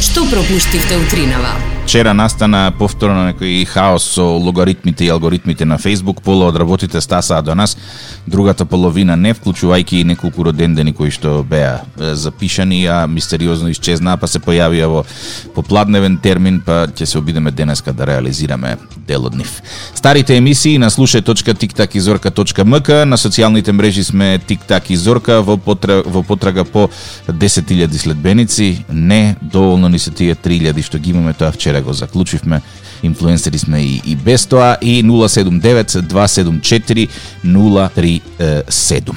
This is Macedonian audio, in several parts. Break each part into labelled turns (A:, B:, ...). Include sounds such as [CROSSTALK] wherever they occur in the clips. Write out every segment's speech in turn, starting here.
A: Што пропуштивте утринава?
B: Вчера настана повторно некој хаос со логаритмите и алгоритмите на Facebook, пола од работите стасаа до нас, другата половина не вклучувајќи и неколку родендени кои што беа е, запишани, а мистериозно исчезнаа, па се појавија во попладневен термин, па ќе се обидеме денеска да реализираме дел од нив. Старите емисии на слушај.тиктакизорка.мк, на социјалните мрежи сме Тиктак и Зорка во потра- во потрага по 10.000 следбеници, не доволно ни се тие 3.000 што ги имаме, тоа вчера го заклучивме. Инфлуенсери сме и, и без тоа и 079-274-037.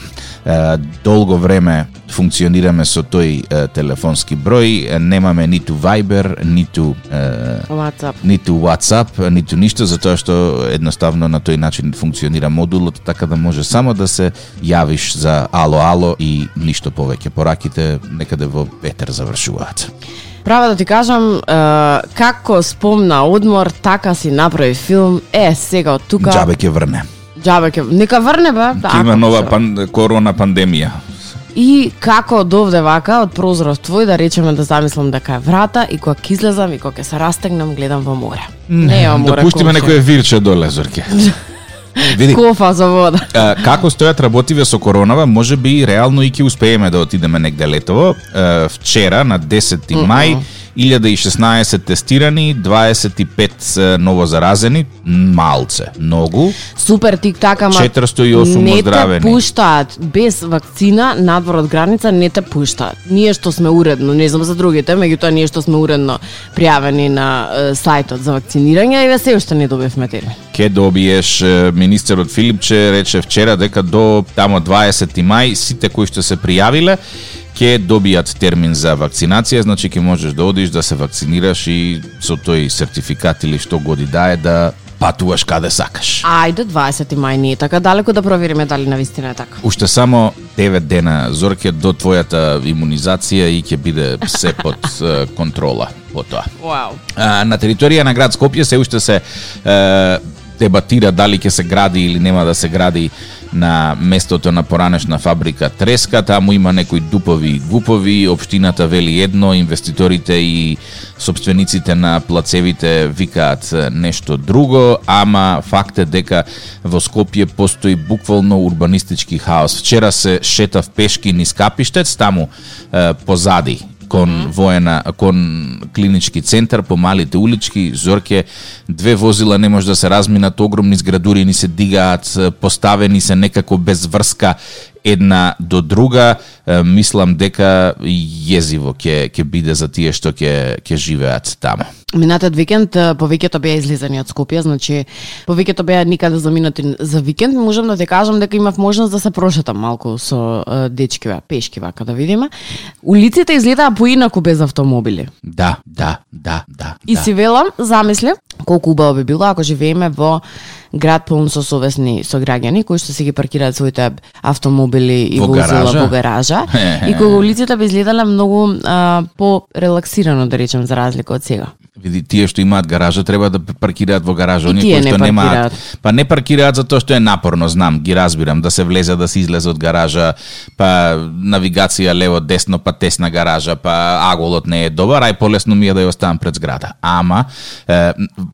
B: Е, Долго време функционираме со тој е, телефонски број, е, немаме ниту Viber, ниту е,
C: WhatsApp.
B: ниту WhatsApp, ниту ништо, затоа што едноставно на тој начин функционира модулот, така да може само да се јавиш за ало ало и ништо повеќе. Пораките некаде во Петер завршуваат.
C: Право да ти кажам, е, како спомна одмор, така си направи филм. Е, сега од тука...
B: Джабе ќе врне.
C: Джабе ќе... Нека врне, бе. Да,
B: Ќе има
C: ако
B: нова
C: се.
B: пан, корона пандемија.
C: И како од овде вака, од прозорот твој, да речеме да замислам дека е врата и кога ќе излезам и кога ќе се растегнам, гледам во море. Не е море.
B: Допустиме
C: комши.
B: некое вирче доле, Зорке. Види,
C: Кофа за вода.
B: а, како стојат работиве со коронава, може би и реално и ќе успееме да отидеме негде летово. А, вчера, на 10 мај, 1016 тестирани, 25 се ново заразени, малце, многу.
C: Супер тик така, ама
B: 408
C: не те
B: оздравени.
C: пуштаат без вакцина надвор од граница не те пуштаат. Ние што сме уредно, не знам за другите, меѓутоа ние што сме уредно пријавени на е, сајтот за вакцинирање и се уште не добивме термин.
B: Ке добиеш е, министерот Филипче рече вчера дека до тамо 20 мај сите кои што се пријавиле ќе добијат термин за вакцинација, значи ќе можеш да одиш да се вакцинираш и со тој сертификат или што годи дае да патуваш каде сакаш.
C: Ајде 20 мај не е така далеко да провериме дали на вистина е така.
B: Уште само 9 дена зорке до твојата имунизација и ќе биде се под [LAUGHS] е, контрола потоа.
C: Вау.
B: А, на територија на град Скопје се уште се е, дебатира дали ќе се гради или нема да се гради на местото на поранешна фабрика Треска, таму има некои дупови и гупови, општината вели едно, инвеститорите и собствениците на плацевите викаат е, нешто друго, ама факт е дека во Скопје постои буквално урбанистички хаос. Вчера се шетав пешки низ Капиштец, таму е, позади кон воена кон клинички центар по малите улички зорке две возила не може да се разминат огромни зградури ни се дигаат е, поставени се некако без врска една до друга Е, мислам дека језиво ќе ќе биде за тие што ќе ќе живеат таму
C: Минатиот викенд е, повеќето беа излизани од Скопје, значи повеќето беа никаде заминати за викенд. Можам да те кажам дека имав можност да се прошетам малку со е, дечки, бе, пешки вака да видиме. Улиците изгледаа поинаку без автомобили.
B: да да да да
C: И
B: да.
C: си велам, замисли, колку убаво би било ако живееме во град полн со совесни сограѓани кои што си ги паркираат своите автомобили и
B: Во
C: возила
B: гаража?
C: во
B: [LAUGHS]
C: гаража и кога улицата би изгледала многу а, порелаксирано да речем за разлика од сега.
B: Види, тие што имаат гаража треба да паркираат во гаража,
C: И
B: оние
C: тие
B: кои
C: не
B: што немаат.
C: паркираат.
B: Па не паркираат затоа што е напорно, знам, ги разбирам, да се влезе, да се излезе од гаража, па навигација лево, десно, па тесна гаража, па аголот не е добар, ај полесно ми е да ја оставам пред зграда. Ама е,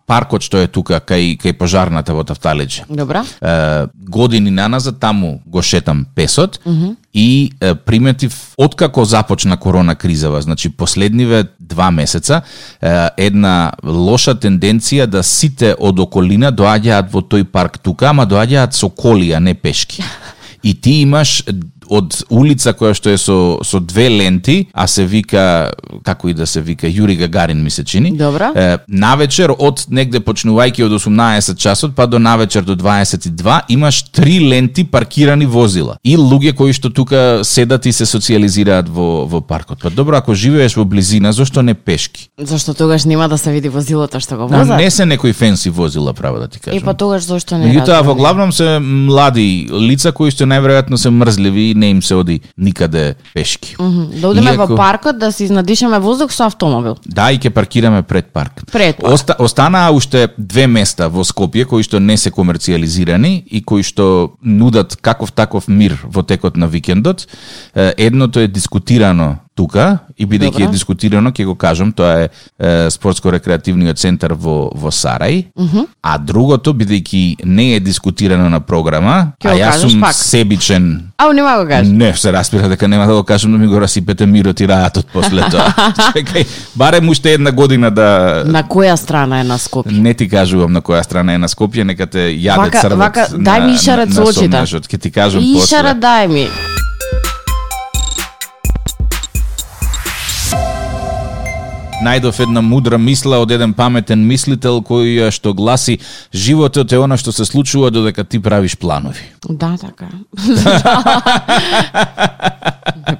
B: паркот што е тука кај кај пожарната во Тавталиџи,
C: Добра?
B: е, години наназад таму го шетам песот mm -hmm. и е, приметив откако започна корона кризава, значи последниве два месеца, е, една лоша тенденција да сите од околина доаѓаат во тој парк тука, ама доаѓаат со коли, а не пешки. И ти имаш од улица која што е со со две ленти, а се вика како и да се вика Јури Гагарин ми се чини.
C: Добра.
B: Е, навечер од негде почнувајќи од 18 часот па до навечер до 22 имаш три ленти паркирани возила и луѓе кои што тука седат и се социјализираат во во паркот. Па добро, ако живееш во близина, зошто не пешки?
C: Зашто тогаш нема да се види возилото што го
B: Возат.
C: возат?
B: Не се некои фенси возила, право да ти кажам.
C: И па тогаш зошто не
B: Меѓутоа,
C: разбирам.
B: во главном се млади лица кои што најверојатно се мрзливи и не им се оди никаде пешки.
C: Мгм, Да одиме во
B: Иако-
C: паркот да си изнадишаме воздух со автомобил.
B: Да, и ќе паркираме пред парк.
C: Пред парк.
B: Оста, останаа уште две места во Скопје кои што не се комерцијализирани и кои што нудат каков таков мир во текот на викендот. Е, Едното е дискутирано тука и бидејќи е
C: Добро.
B: дискутирано, ќе го кажам, тоа е, е спортско-рекреативниот центар во, во Сарај, а другото, бидејќи не е дискутирано на програма,
C: Ќе
B: а
C: го
B: јас
C: кажеш
B: сум
C: пак.
B: себичен
C: Ау, нема го кажа.
B: Не, се распира дека нема да го кажам да ми го расипете мирот и раатот после
C: [LAUGHS]
B: тоа. Чекај, барем уште една година да
C: На која страна е на Скопје?
B: не ти кажувам на која страна е на Скопје, нека те јаде
C: Вака-
B: црвот.
C: вака,
B: на-
C: дај ми ишарат да.
B: на-
C: со
B: на
C: очите.
B: сомнажот, Ќе ти кажам после.
C: Ишара дај ми.
B: Најдов една мудра мисла од еден паметен мислител кој а, што гласи животот е она што се случува додека ти правиш планови.
C: Да, така.
B: [LAUGHS]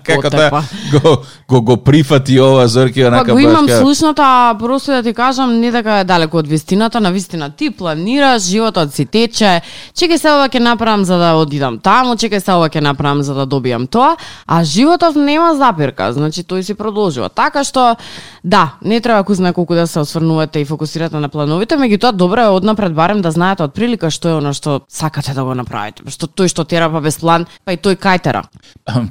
B: Како
C: Потепа.
B: да го го, го прифати ова Зорки
C: Па
B: онака
C: го имам
B: баш ка-
C: слушната, а просто да ти кажам, не дека е далеко од вистината, на вистина ти планираш, животот си тече, чекај се ова ќе направам за да одидам таму, чекај се ова ќе направам за да добијам тоа, а животот нема запирка, значи тој си продолжува. Така што, да, не треба кој знае колку да се осврнувате и фокусирате на плановите, меѓутоа добро е однапред барем да знаете од прилика што е оно што сакате да го направите, што тој што тера па без план, па и тој кај тера.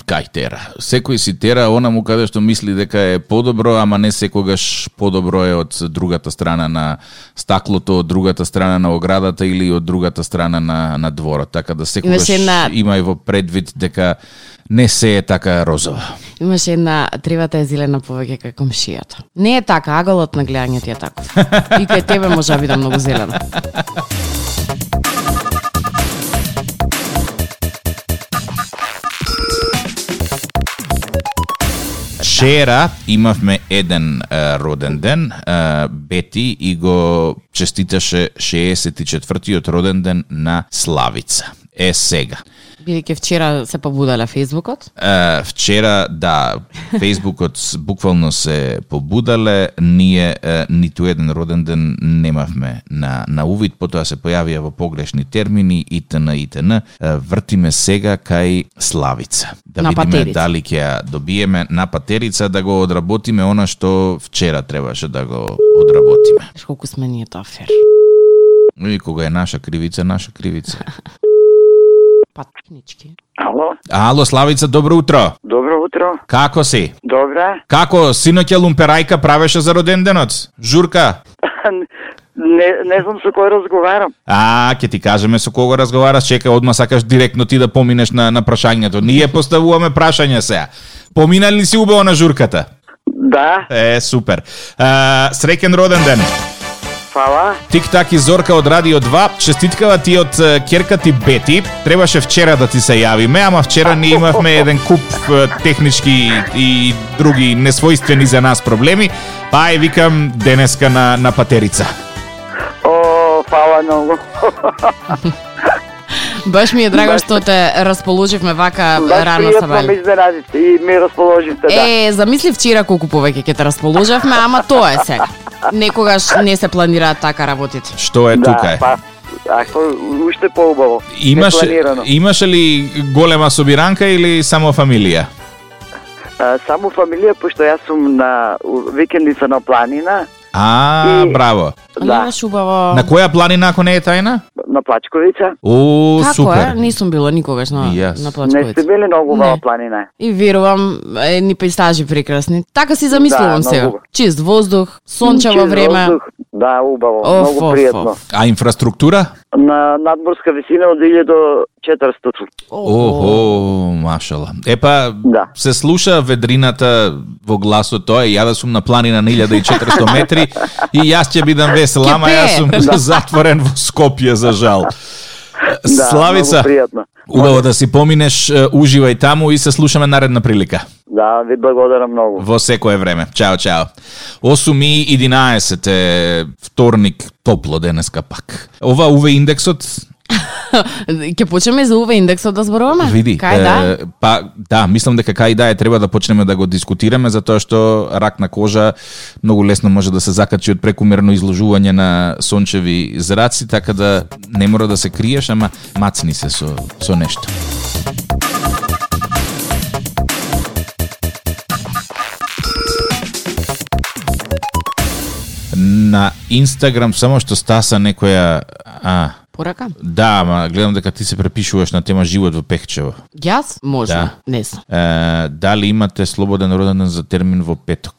B: Кај тера. Секој си тера онаму каде што мисли дека е подобро, ама не секогаш подобро е од другата страна на стаклото, од другата страна на оградата или од другата страна на, на дворот. Така да секогаш
C: Имаше една-
B: имај во предвид дека не се е така розова.
C: Имаше една тревата е зелена повеќе кај комшијата. Не е така, аголот на гледање ти е таков. И кај тебе може да биде многу зелена.
B: Вчера имавме еден е, роден ден, е, Бети и го честиташе 64-тиот роден ден на Славица. Е сега.
C: Бидејќи вчера се побудале Фејсбукот.
B: Е, вчера, да, Фейсбукот с- буквално се побудале, ние е, ниту еден роден ден немавме на, на увид, потоа се појавија во погрешни термини, итн, итн. Е, вртиме сега кај Славица. Да
C: На
B: видиме
C: патерица.
B: дали ќе ја добиеме на патерица да го одработиме она што вчера требаше да го одработиме.
C: Знаеш колку сме ние тоа фер.
B: И кога е наша кривица, наша
C: [LAUGHS]
B: кривица.
C: Па, Патнички.
A: Ало,
B: Ало, Славица, добро утро!
A: добро утро.
B: Како си?
A: Добра. [LAUGHS]
B: Како, синоќа лумперајка правеше за роденденот? Журка?
A: Не, не знам со кој разговарам.
B: А, ќе ти кажеме со кого разговараш, чека, одма сакаш директно ти да поминеш на, на прашањето. Ние поставуваме прашање сега. Поминали ли си убаво на журката?
A: Да,
B: Е, супер. А, среќен роден ден.
A: фала.
B: Тик-так и Зорка од Радио 2, честиткава ти од е, керка ти Бети. Требаше вчера да ти се јавиме, ама вчера ние имавме еден куп е, технички и други несвојствени за нас проблеми, па е викам денеска на, на патерица.
A: О, фала многу.
C: Баш ми е драго што те расположивме вака
A: Баш
C: [LAUGHS] рано
A: пријатно ме
C: сабајле.
A: изненадите и ми расположите, да.
C: Е, замисли вчера колку повеќе ќе те расположевме, ама тоа е сега. Некогаш не се планираат така работите.
B: Што е
A: да,
B: тука е?
A: Па, а што, уште поубаво.
B: Имаше,
A: Непланирано.
B: имаше ли голема собиранка или само фамилија?
A: А, Само фамилија, пошто јас сум на у- викендица на планина,
B: А,
A: И-
B: браво.
C: Да.
A: да,
C: Немаш убаво...
B: На која планина ако не е тајна?
A: на Плачковица.
B: О,
C: Како е?
B: супер.
C: Не сум била никогаш на,
B: И јас.
C: на
A: Не сте
C: плачковица.
A: били многу во
C: Не.
A: планина?
C: И верувам, е, ни пейзажи прекрасни. Така си замислувам
A: Да,
C: сега.
A: многу.
C: Чист воздух, сончево
A: Чист
C: време.
A: воздух, Значи, Да, убаво,
C: Оф,
A: многу
C: оф,
A: пријатно.
C: оф.
B: А инфраструктура?
A: На надморска висина од 1400.
B: Охо, машала. Епа,
A: Да.
B: се слуша ведрината во гласот тоа и ја да сум на планина на 1400 метри и јас ќе бидам весел,
C: Ќе
B: ама јас
A: [LAUGHS]
C: пее.
B: сум затворен во Скопје за жал.
A: Да,
B: Славица,
A: многу пријатно.
B: убаво да си поминеш, е, уживај таму и се слушаме наредна прилика.
A: Да, ви благодарам многу.
B: Во секое време. Чао, чао. 8 и 11 е вторник, топло денеска пак. Ова УВ индексот,
C: [LAUGHS] Ќе почнеме за УВ индексот да зборуваме?
B: види,
C: Кај да?
B: е, па да, мислам дека кај да е треба да почнеме да го дискутираме затоа што рак на кожа многу лесно може да се закачи од прекумерно изложување на сончеви зраци, така да не мора да се криеш, ама мацни се со со нешто. на Инстаграм само што стаса некоја а
C: порака?
B: Да, ма гледам дека ти се препишуваш на тема живот во Пехчево.
C: Јас?
B: Да.
C: Можда. Не знам.
B: Е, дали имате слободен роден за термин во петок?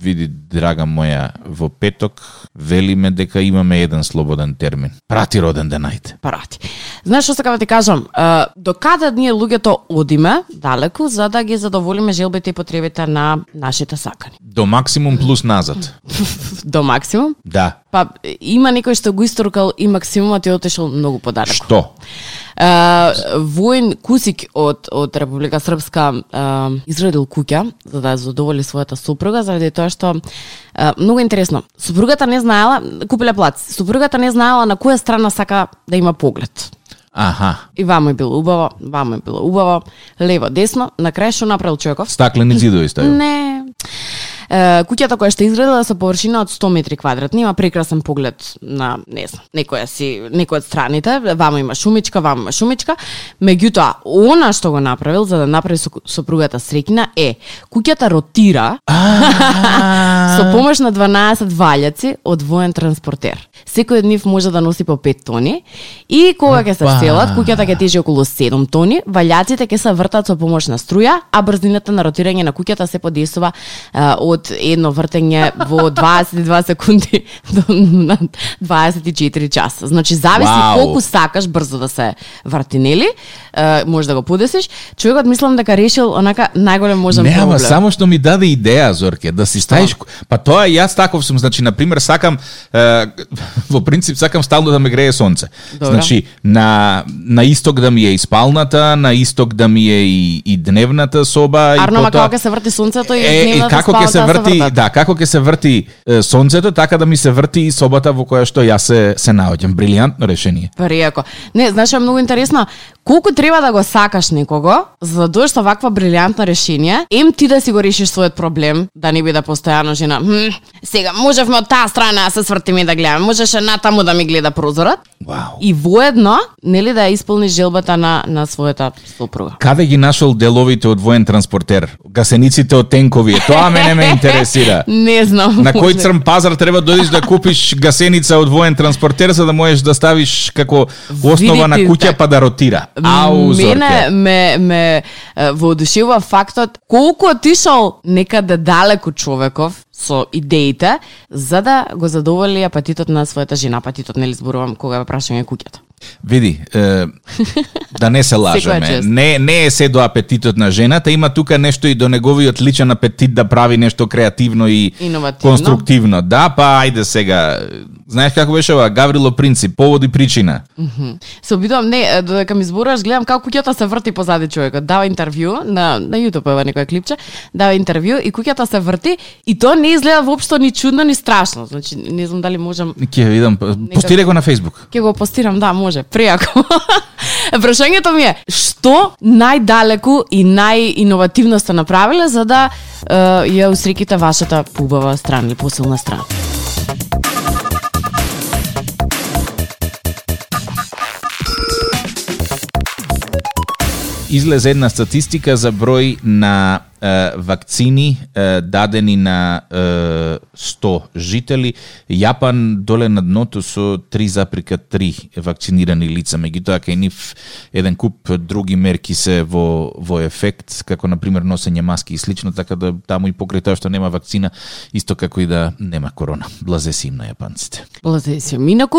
B: Види, драга моја, во петок велиме дека имаме еден слободен термин. Прати роден ден, ајде.
C: Прати. Знаеш што сакам да ти кажам? Е, До каде ние луѓето одиме далеку за да ги задоволиме желбите и потребите на нашите сакани?
B: До максимум плюс назад.
C: До максимум.
B: Да.
C: Па има некој што го исторкал и максимумот е отишел многу подалеку.
B: Што?
C: А, воин Кусик од од Република Српска а, изградил куќа за да ја задоволи својата супруга заради тоа што а, многу интересно. Супругата не знаела, купиле плац. Супругата не знаела на која страна сака да има поглед.
B: Аха.
C: И вамо е било убаво, вамо е било убаво, лево, десно, на крај што направил човеков?
B: Стаклени зидови ставил.
C: Не. Е, куќата која што изградила со површина од 100 метри квадратни има прекрасен поглед на, не знам, некоја си, некој од страните, вамо има шумичка, вамо има шумичка, меѓутоа, она што го направил за да направи со, сопругата среќна е, куќата ротира со помош на 12 валјаци од воен транспортер. Секој од нив може да носи по 5 тони и кога ќе се
B: Опа.
C: вселат, куќата ќе тежи околу 7 тони, валјаците ќе се вртат со помош на струја, а брзината на ротирање на куќата се подесува а, од едно вртење
B: [LAUGHS]
C: во 22 секунди до на 24 часа. Значи зависи
B: Вау.
C: колку сакаш брзо да се врти, нели? А, може да го подесиш. Човекот мислам дека решил онака најголем можен
B: Не, ама
C: проблем.
B: само што ми даде идеја, Зорке, да си ставиш... Па тоа и јас таков сум, значи, на пример, сакам, е, [LAUGHS] во принцип, сакам стално да ме грее сонце.
C: Добра.
B: Значи, на, на исток да ми е и спалната, на исток да ми е и, и дневната соба.
C: Арно,
B: и
C: ма
B: потоа-
C: како ќе се врти сонцето и
B: Е, и
C: дневната
B: како ќе
C: спалната
B: се врти,
C: вртат.
B: да, како ќе се врти е, сонцето, така да ми се врти и собата во која што јас се се наоѓам. Брилијантно решение.
C: Преко. Не, знаеш, што е многу интересно, колку треба да го сакаш некого за да дојдеш со ваква брилјантно решение, ем ти да си го решиш својот проблем, да не биде постојано жена. Хм, сега можевме од таа страна да се свртиме и да гледаме, можеше натаму да ми гледа прозорот
B: Вау.
C: и воедно, нели да ја исполниш желбата на на својата сопруга.
B: Каде ги нашол деловите од воен транспортер? Гасениците од тенкови, тоа мене ме интересира.
C: [LAUGHS] Не знам.
B: На кој
C: може.
B: црн пазар треба да одиш да купиш гасеница од воен транспортер за да можеш да ставиш како основа на
C: Видите,
B: куќа
C: така.
B: па да ротира. Ау,
C: Мене
B: Зорке.
C: ме, ме е, воодушевува фактот колку отишол некаде далеку човеков со идеите за да го задоволи апатитот на својата жена. Апатитот нели зборувам кога ја прашање куќата.
B: Види,
C: [LAUGHS]
B: е, да не се лажеме.
C: чест.
B: Не, не е се до апетитот на жената, има тука нешто и до неговиот личен апетит да прави нешто креативно и
C: Иновативно.
B: конструктивно. Да, па ајде сега. Знаеш како беше ова? Гаврило принцип, повод и причина.
C: Мгм. Се обидувам, не, е, додека ми зборуваш, гледам како куќата се врти позади човекот. Дава интервју на на YouTube ева некој клипче, дава интервју и куќата се врти и тоа не изгледа воопшто ни чудно ни страшно. Значи не знам дали можам
B: Ќе видам, постирај го на Facebook.
C: Ќе го постирам, да, може, [LAUGHS] пријако. Прашањето ми е, што најдалеку и најиновативно сте направиле за да е, ја усреките вашата убава страна или посилна страна?
B: излезе една статистика за број на е, вакцини е, дадени на е, 100 жители. Јапан доле на дното со 3,3 вакцинирани лица, меѓутоа кај нив еден куп други мерки се во во ефект, како на пример носење маски и слично, така да таму и покрај тоа што нема вакцина, исто како и да нема корона. Блазе си им на јапанците.
C: Лазе си. [CLEARS THROAT] Инаку,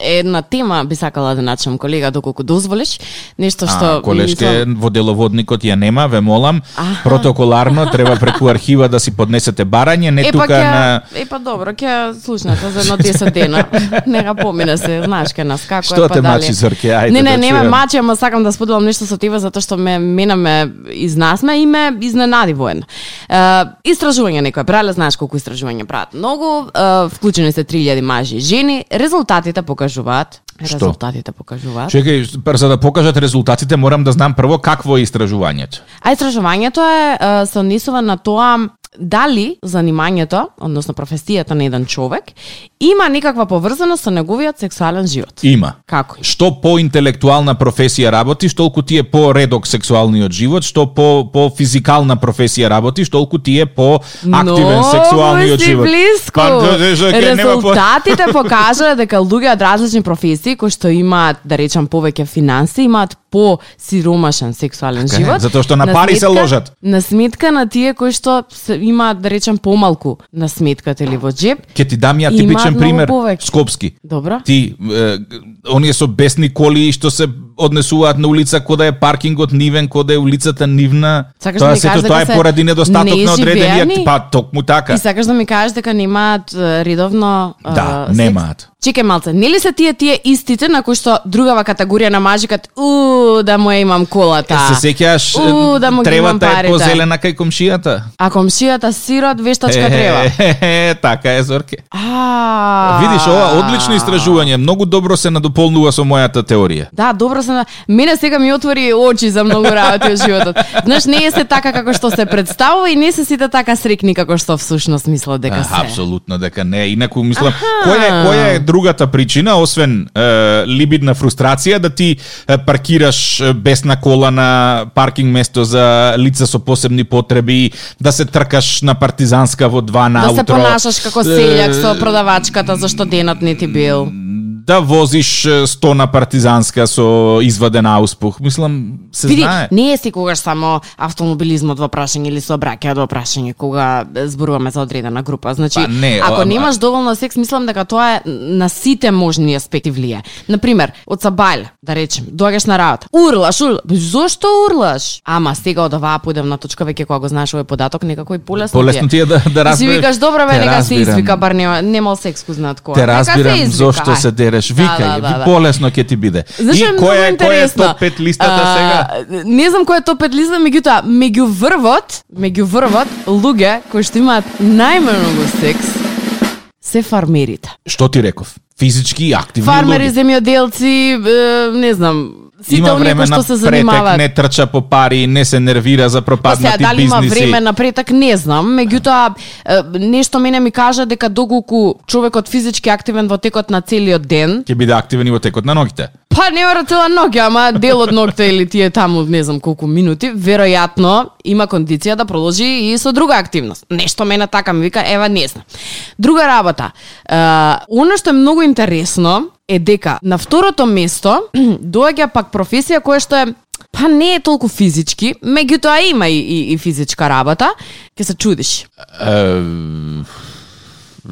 C: една тема би сакала да начнам, колега, доколку дозволиш. Нешто што...
B: А, колешке,
C: мислам-
B: во деловодникот ја нема, ве молам.
C: Аха. [LAUGHS]
B: Протоколарно треба преку архива да си поднесете барање, не
C: Е, па,
B: тука
C: ќе,
B: на
C: е, па добро, ќе слушнете за едно
B: [LAUGHS]
C: 10 дена. Нека помине се, знаеш ке нас како
B: Што
C: е, па
B: те
C: дали...
B: мачи, Зорке? Ајде
C: не, не,
B: да
C: не ме
B: чуем.
C: мачи, ама сакам да споделам нешто со тебе затоа што ме мене ме изнасме и ме изненади воедно. Е, истражување некој правеле, знаеш колку истражување прават. Многу е, вклучени се 3000 мажи и жени, резултатите покажуваат
B: Што?
C: Резултатите покажуваат.
B: Чекај, пр- за да покажат резултатите, морам да знам прво какво е истражувањето.
C: А истражувањето е, е се однесува на тоа дали занимањето, односно професијата на еден човек, има некаква поврзаност со неговиот сексуален живот.
B: Има.
C: Како?
B: Што по-интелектуална професија работиш, толку ти е по-редок сексуалниот живот, што по, по-физикална професија работиш, толку ти е по-активен сексуалниот
C: си
B: живот.
C: блиску.
B: Па, да, да, да, ќе нема по- [LAUGHS]
C: Резултатите покажаа дека луѓе од различни професии кои што имаат, да речам, повеќе финанси, имаат по-сиромашен сексуален
B: Така е,
C: живот.
B: затоа што на пари се
C: сметка-
B: ложат.
C: На сметка на тие кои што се имаат, да речам, помалку на сметката или во џеб.
B: Ке ти дам ја
C: Имаат
B: типичен
C: многу
B: пример,
C: повеќе.
B: скопски.
C: Добро.
B: Ти, е, оние со бесни коли што се однесуваат на улица кода е паркингот нивен, кода е улицата нивна.
C: Сакаш да
B: тоа
C: ми кажеш
B: сето тоа е
C: дека се
B: поради недостаток на одредени,
C: неживеани?
B: ак- па токму така.
C: И сакаш да ми кажеш дека немаат е, редовно е,
B: Да,
C: секс?
B: немаат.
C: Чекај малце, нели се тие тие истите на кои што другава категорија на мажи кат у да му ја имам колата.
B: Се сеќаваш,
C: У, да му ги имам
B: тревата е
C: парите.
B: позелена кај комшијата.
C: А комшијата сирот вештачка трева.
B: [LAUGHS] Е, така е, Зорке.
C: А.
B: Видиш, ова одлично истражување, многу добро се надополнува со мојата теорија.
C: Да, добро се. на- Мене сега ми отвори очи за многу работи од животот. Знаеш, не е се така како што се представува и не се сите така срекни како што всушност мислат дека
B: Аха,
C: се.
B: Апсолутно дека не. Инаку мислам,
C: Аха.
B: која е која е другата причина освен е, либидна фрустрација да ти е, паркираш е, бесна кола на паркинг место за лица со посебни потреби, да се тркаш на партизанска во 2
C: Да
B: наутро.
C: се понашаш како
B: Е,
C: селјак со продавачката зашто денот не ти бил.
B: да возиш е, 100 на партизанска со изваден ауспух. Мислам, се
C: Види,
B: знае.
C: не е секогаш само автомобилизмот во прашање или сообраќајот во прашање кога зборуваме за одредена група. Значи,
B: Па не,
C: ако
B: ама-
C: немаш доволно секс, мислам дека тоа е на сите можни аспекти влие. Например, од Сабајл, да речем, доаѓаш на работа, урлаш, урлаш, зошто урлаш? Ама сега од оваа поидам на точка веќе кога го знаеш овој податок, некако и полесно,
B: Полесно ти е да- да
C: Си
B: разбереш.
C: викаш, добро бе,
B: Те
C: нека се
B: разбирам.
C: извика, бар нема, немал секс, ку знаат кој.
B: Те разбирам зошто се дереш. Викај, да, да, да. полесно ќе ти биде.
C: Знаеш, е многу
B: која е, која е
C: интересно.
B: топ 5 листата
C: А,
B: сега?
C: Не знам кој е топ 5 листа, меѓутоа, меѓу врвот, меѓу врвот, луѓе кои што имаат најмногу секс, се фармерите.
B: Што ти реков? Физички и активни
C: Фармери,
B: луѓе.
C: земјоделци, е, не знам, сите
B: Има
C: оние
B: време
C: кои
B: на
C: што се
B: претек,
C: занимаваат.
B: не трча по пари, не се нервира за
C: Па сега,
B: пропаднати
C: дали има
B: бизниси.
C: време на претак, не знам. Меѓутоа, е, нешто мене ми кажа дека доколку човекот физички активен во текот на целиот ден,
B: Ќе биде активен и во текот на ногите.
C: Па не мора цела ноќ, ама дел од ноќта или тие таму не знам колку минути, веројатно има кондиција да продолжи и со друга активност. Нешто мене така ми вика, ева не знам. Друга работа. Е, оно што е многу интересно е дека на второто место [CLEARS THROAT] доаѓа пак професија која што е Па не е толку физички, меѓутоа има и, и, и физичка работа, ќе се чудиш.
B: Е,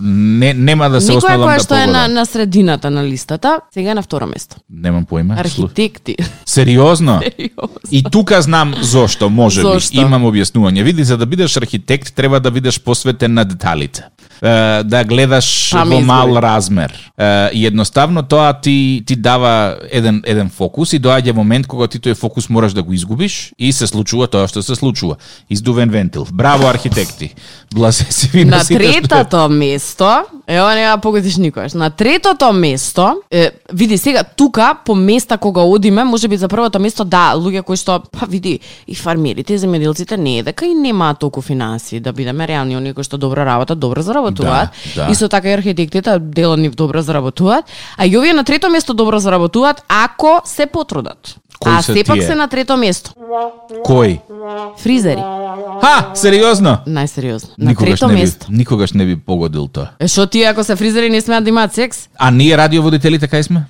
B: не, нема да се
C: Никоја
B: осмелам
C: која
B: да
C: што е
B: погодам.
C: на, на средината на листата, сега е на второ место.
B: Немам поима. Слу-
C: Архитекти. [LAUGHS]
B: Сериозно?
C: Сериозно.
B: И тука знам зошто, може би,
C: Зошто?
B: имам објаснување. Види, за да бидеш архитект, треба да бидеш посветен на деталите. Е, да гледаш
C: Па, ми
B: во
C: изгуби.
B: мал размер. Е, и едноставно тоа ти ти дава еден еден фокус и доаѓа момент кога ти тој фокус мораш да го изгубиш и се случува тоа што се случува. Издувен вентил. Браво архитекти. Бласе си ви
C: На
B: Да сите што-
C: третото место, ева не ја погодиш никош. На третото место, е, види сега тука по места кога одиме, може би за првото место да, луѓе кои што па види и фармерите и земјоделците не е дека и немаат толку финанси, да бидеме реални, оние кои што добро работат, добро заработуваат.
B: Да, да.
C: И со така и архитектите дел од нив добро заработуваат, а и овие на трето место добро заработуваат ако се потрудат.
B: Кои
C: а
B: се
C: сепак
B: тие?
C: се на трето место.
B: Кој?
C: Фризери,
B: Ха, сериозно?
C: најсериозно. На
B: Никогаш
C: трето
B: не би,
C: место.
B: никогаш не би погодил тоа.
C: Е што тие ако се фризери не смеат да имаат секс?
B: А ние радиоводителите кај сме?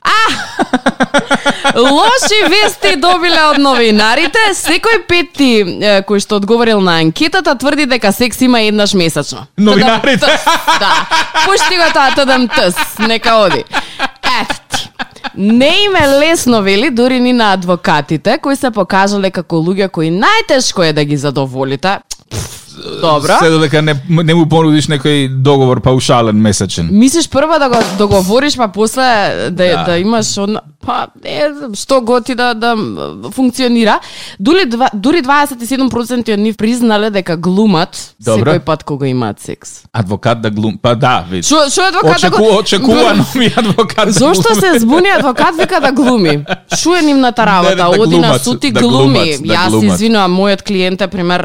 C: Лоши вести добиле од новинарите. Секој пети е, кој што одговорил на анкетата тврди дека секс има еднаш месечно.
B: Новинарите.
C: Тдам-тс, Да. Пушти го тоа тадам тс, нека оди. Ефт. Не им е лесно, вели, дури ни на адвокатите, кои се покажале како луѓе кои најтешко е да ги задоволите. Пф, Добро.
B: Се додека не, не му понудиш некој договор паушален месечен.
C: Мислиш прво да го договориш, па после да,
B: Да.
C: да, да имаш он... па е, што готи да да функционира. Дури два, дури 27% од нив признале дека глумат
B: Добро.
C: секој пат кога имаат секс.
B: Адвокат да глум... Па да, види.
C: Што што е адвокат да
B: Очеку,
C: го-
B: очекувано ми е адвокат да
C: Зошто
B: глуми.
C: се збуни адвокат вика да глуми? Шо е нивната
B: Не, не, да
C: работа? Оди на
B: глумат,
C: суд и
B: да
C: глуми.
B: глумат, да
C: Јас
B: глумат.
C: извинувам, мојот клиент е пример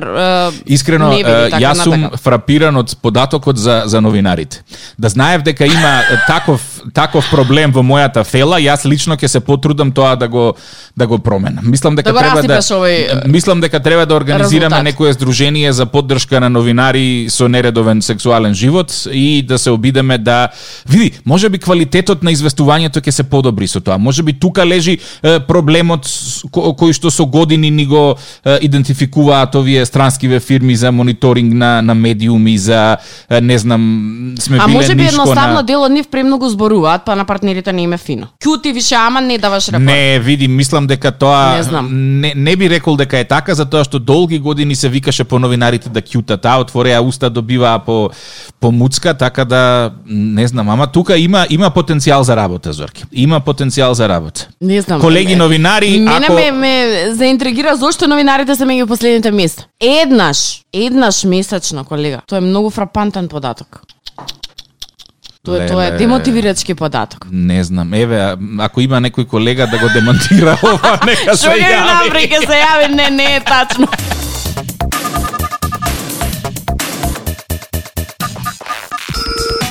C: е,
B: Искрено,
C: не биде
B: е,
C: така
B: јас сум
C: натака.
B: фрапиран од податокот за за новинарите. Да знаев дека има е, таков таков проблем во мојата фела, јас лично ќе се потрудам тоа да го да го променам. Мислам дека
C: Да го
B: треба да
C: расипеш овој, е,
B: мислам дека треба да организираме
C: резултат.
B: некое здружение за поддршка на новинари со нередовен сексуален живот и да се обидеме да види, можеби квалитетот на известувањето ќе се подобри со тоа. Можеби тука лежи е, проблемот с- ко- кој што со години ни го е, идентификуваат овие странскиве фирми за мониторинг на на медиуми за е, не знам сме
C: А
B: биле
C: може би
B: нишко
C: едноставно
B: на...
C: дел од нив премногу зборуваат, па на партнерите не им е фино. Кјути више, ама не даваш репорт.
B: Не, види, мислам дека тоа
C: Не знам.
B: не, не би рекол дека е така затоа што долги години се викаше по новинарите да кјутат, а отвореа уста добиваа по по муцка, така да не знам, ама тука има има потенцијал за работа, Зорки. Има потенцијал за работа.
C: Не знам.
B: Колеги новинари,
C: Мене
B: ако-
C: ме, ме заинтригира зошто новинарите се меѓу последните места. Еднаш, еднаш месечно, колега. Тоа е многу фрапантен податок. Тоа е, тоа е
B: Леле.
C: демотивирачки податок.
B: Не знам, еве, а- ако има некој колега да го демонтира [LAUGHS] ова, нека се
C: Што ќе направи,
B: јави.
C: ќе се јави, не, не е тачно.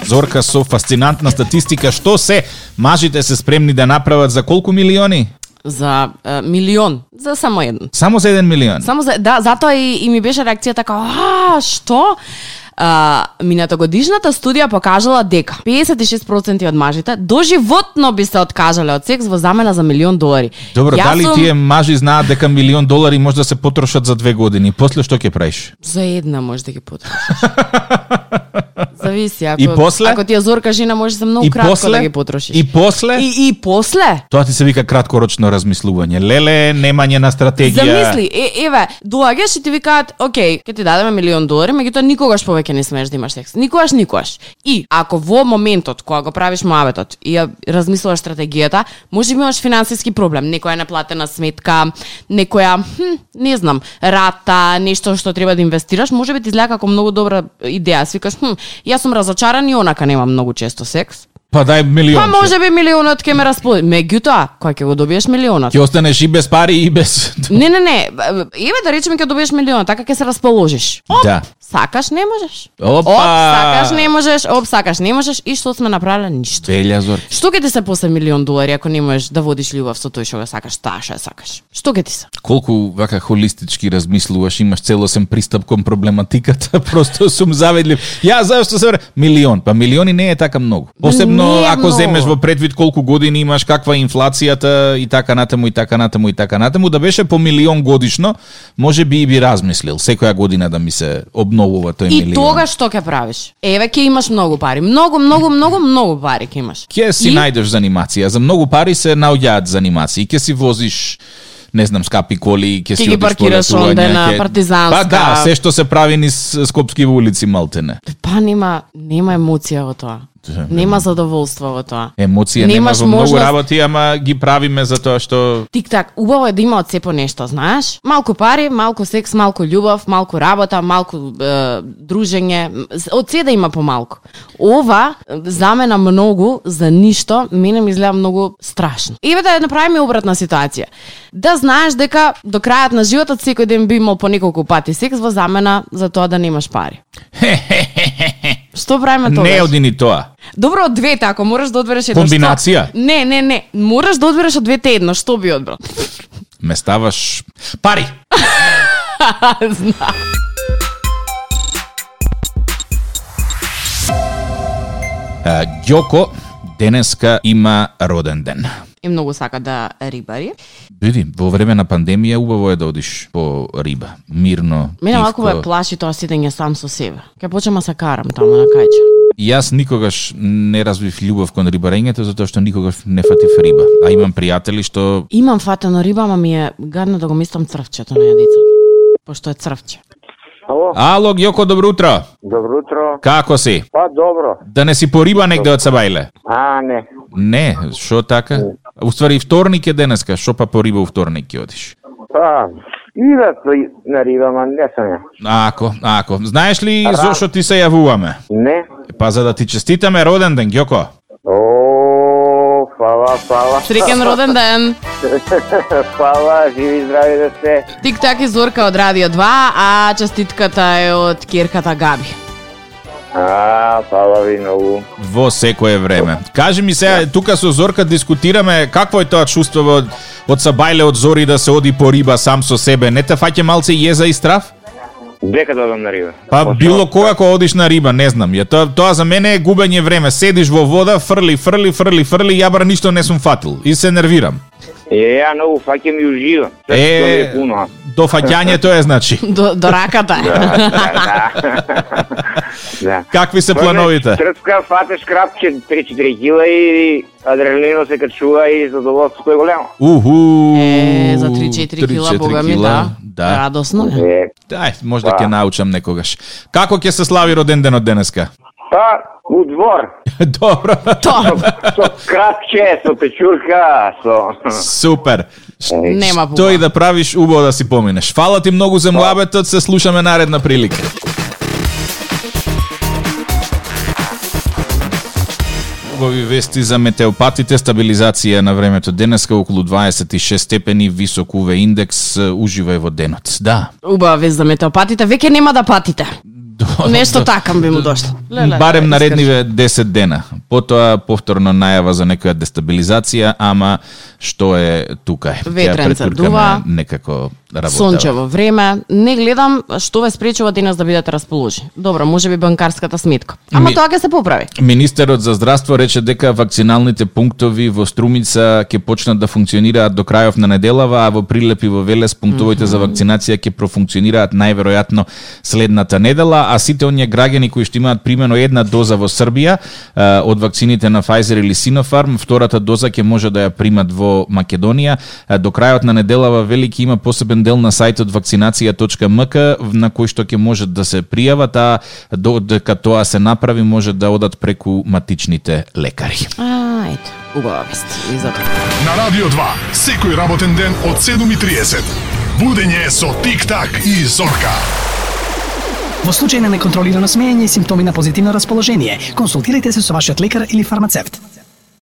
B: Зорка со фасцинантна статистика, што се мажите се спремни да направат за колку милиони?
C: За е, милион, за само еден.
B: Само за еден милион.
C: Само за, да, затоа и, и ми беше реакцијата како, а, што? А, минатогодишната студија покажала дека 56% од мажите доживотно би се откажале од секс во замена за милион долари.
B: Добро,
C: Јас
B: дали
C: сум
B: тие мажи знаат дека милион долари може да се потрошат за две години? После што ќе правиш?
C: За една може да
B: [LAUGHS]
C: ги потрошиш. Зависи, ако,
B: И после?
C: ако ти е зорка жена, може за многу
B: И
C: кратко
B: после?
C: да ги потрошиш.
B: И после? И...
C: и, и после?
B: Тоа ти се вика краткорочно размислување. Леле, немање на стратегија.
C: Замисли, е, еве, доаѓаш и ти викаат, окей, ќе ти дадеме милион долари, меѓутоа никогаш повеќе не смееш да имаш секс. Никогаш, никогаш. И ако во моментот кога го правиш муабетот и ја размислуваш стратегијата, може би имаш финансиски проблем, некоја неплатена сметка, некоја, хм, не знам, рата, нешто што треба да инвестираш, може би ти излега како многу добра идеја. Свикаш, хм, јас сум разочаран и онака немам многу често секс.
B: Па дај милион.
C: Па може би милионот ќе ме расплоди. Меѓутоа, кога ќе го добиеш милионот?
B: Ќе останеш и без пари и без...
C: Не, не, не. Еве да речеме ќе добиеш милион, така ќе се расположиш. Оп,
B: Да.
C: сакаш, не можеш.
B: Опа!
C: Оп, сакаш, не можеш. Оп, сакаш, не можеш. И што сме направиле? Ништо.
B: Велја, Зор.
C: Што ќе ти се после милион долари ако не можеш да водиш љубов со тој што го сакаш, таа што ја сакаш? Што ќе ти се?
B: Колку вака холистички размислуваш, имаш целосен пристап кон проблематиката, [LAUGHS] просто сум заведлив. Ја зашто се вра- милион, па милиони не е така многу. Посебно
C: не е
B: ако
C: многу.
B: земеш во предвид колку години имаш, каква е инфлацијата и така натаму и така натаму и така натаму, да беше по милион годишно, може би и би размислил секоја година да ми се обновува тој
C: И
B: милион.
C: тогаш што ќе правиш? Еве ќе имаш многу пари. Многу, многу, многу, многу пари ќе имаш.
B: Ке си
C: И-
B: најдеш занимација, за многу пари се наоѓаат занимации, ке си возиш не знам, скапи коли, ќе
C: Ќе
B: си
C: ги
B: одиш
C: паркираш
B: полетување,
C: онде на
B: ќе-
C: Партизанска.
B: Па да, се што се прави низ Скопски улици Малтене.
C: Па нема, нема емоција во тоа. Нема задоволство во тоа.
B: Да, Емоција нема
C: Немаш
B: во многу
C: можност-
B: работи, ама ги правиме за тоа што
C: Тик-так, убаво е да има од се по нешто, знаеш? Малку пари, малку секс, малку љубов, малку работа, малку е, дружење, м, с- од се да има помалку. Ова е, замена многу за ништо, мене ми изгледа многу страшно. Еве да ја направиме обратна ситуација. Да знаеш дека до крајот на животот секој ден би имал по неколку пати секс во замена за тоа да немаш
B: [LAUGHS]
C: пари. Што правиме тоа?
B: не оди ни тоа.
C: Добро од двете, ако мораш да одбереш едно.
B: Комбинација?
C: Што... Не, не, не. Мораш да одбереш од двете едно, што би одбрал?
B: Ме ставаш пари.
C: Знам.
B: А, Ѓоко денеска има роден ден.
C: и многу сака да рибари.
B: Биди, во време на пандемија убаво е да одиш по риба, мирно.
C: Мене
B: тивко.
C: малку ме плаши тоа сидење сам со себе. Ке почнам да се карам таму на кајче.
B: Јас никогаш не развив љубов кон рибарењето затоа што никогаш не фатив риба. А имам пријатели што
C: Имам фатено риба, ама ми е гадно да го мислам црвчето на јадицата. Пошто е црвче.
D: Ало,
B: Ало, Ѓоко, добро утро.
D: добро утро.
B: Како си?
D: Па добро.
B: Да не си по риба негде од Сабајле?
D: А, не.
B: Не, шо така? Уствари вторник е денеска, што па по риба вторник ќе одиш?
D: Па, идат на риба, ма не сам ја.
B: Ако, ако. Знаеш ли зошто ти се јавуваме?
D: Не.
B: Па за да ти честитаме роден ден, Ѓоко.
D: О, фала, фала.
C: Среќен роден ден.
D: [LAUGHS] фала, живи, здрави да сте.
C: Тик так и Зорка од Радио 2, а честитката е од Кирката Габи.
D: А, фала ви многу.
B: во секое време. Кажи ми сега, тука со Зорка дискутираме какво е тоа чувство од, од Сабајле од Зори да се оди по риба сам со себе. Не те фаќа малце језа и страв?
D: Дека да одам на риба.
B: Па
D: После-
B: било кога кога одиш на риба, не знам. Ја тоа, тоа за мене е губење време. Седиш во вода, фрли, фрли, фрли, фрли, ја бар ништо не сум фатил и се нервирам.
D: Е, ја многу фаќам и уживам. Тоа што ми
B: Е,
D: е
B: [LAUGHS]
D: пуно.
B: до фаќањето е значи.
C: До, до раката е.
D: да. [LAUGHS] да.
B: Какви се плановите?
D: Трцка, фатеш крапче 3-4 кила и адреналинот се качува и задоволството е голямо.
B: Уху.
C: Е, за 3-4 кила,
B: 3-4
C: бога ми,
B: кила,
C: да.
B: Да.
C: Радосно е.
D: Е,
B: Дај, можда ќе научам некогаш. Како ќе се слави роден денот денеска? [LAUGHS]
D: па, у двор,
B: Добро.
C: Тоа,
D: со крапче, со печурка, со...
B: Супер.
C: нема
B: Тој
C: пуба.
B: да правиш убаво да си поминеш. Фала ти многу за млабетот, се слушаме наредна прилика. Убави вести за метеопатите, стабилизација на времето денеска околу 26 степени, висок УВ индекс, уживај во денот. Да. [LAUGHS]
C: Убава вест за метеопатите, веќе нема да патите.
B: До-
C: Нешто такам би му дошло.
B: барем наредниве 10 дена. Потоа повторно најава за некоја дестабилизација, ама што е тука е. Ја
C: Ветренце
B: претуркаме
C: дува.
B: Некако работава.
C: Сончево време, не гледам што ве спречува денес да бидете расположени. Добро, можеби банкарската сметка. Ама
B: Ми-
C: тоа ќе се поправи.
B: Министерот за здравство рече дека вакциналните пунктови во Струмица ќе почнат да функционираат до крајов на неделава, а во Прилеп и во Велес пунктовите за вакцинација ќе профункционираат најверојатно следната недела, а сите оние граѓани кои што имаат примено една доза во Србија е, од вакцините на Pfizer или Sinopharm, втората доза ќе може да ја примат во Македонија. Е, До крајот на неделава велики има посебен дел на сајтот вакцинација.мк на кој што ќе можат да се пријават, а додека тоа се направи може да одат преку матичните лекари.
C: А, ето, убава вест. И за тоа.
E: На Радио 2, секој работен ден од 7.30. Будење со Тик-так и Зорка.
F: Во случај на неконтролирано смеење и симптоми на позитивно расположение, консултирайте се со вашиот лекар или фармацевт.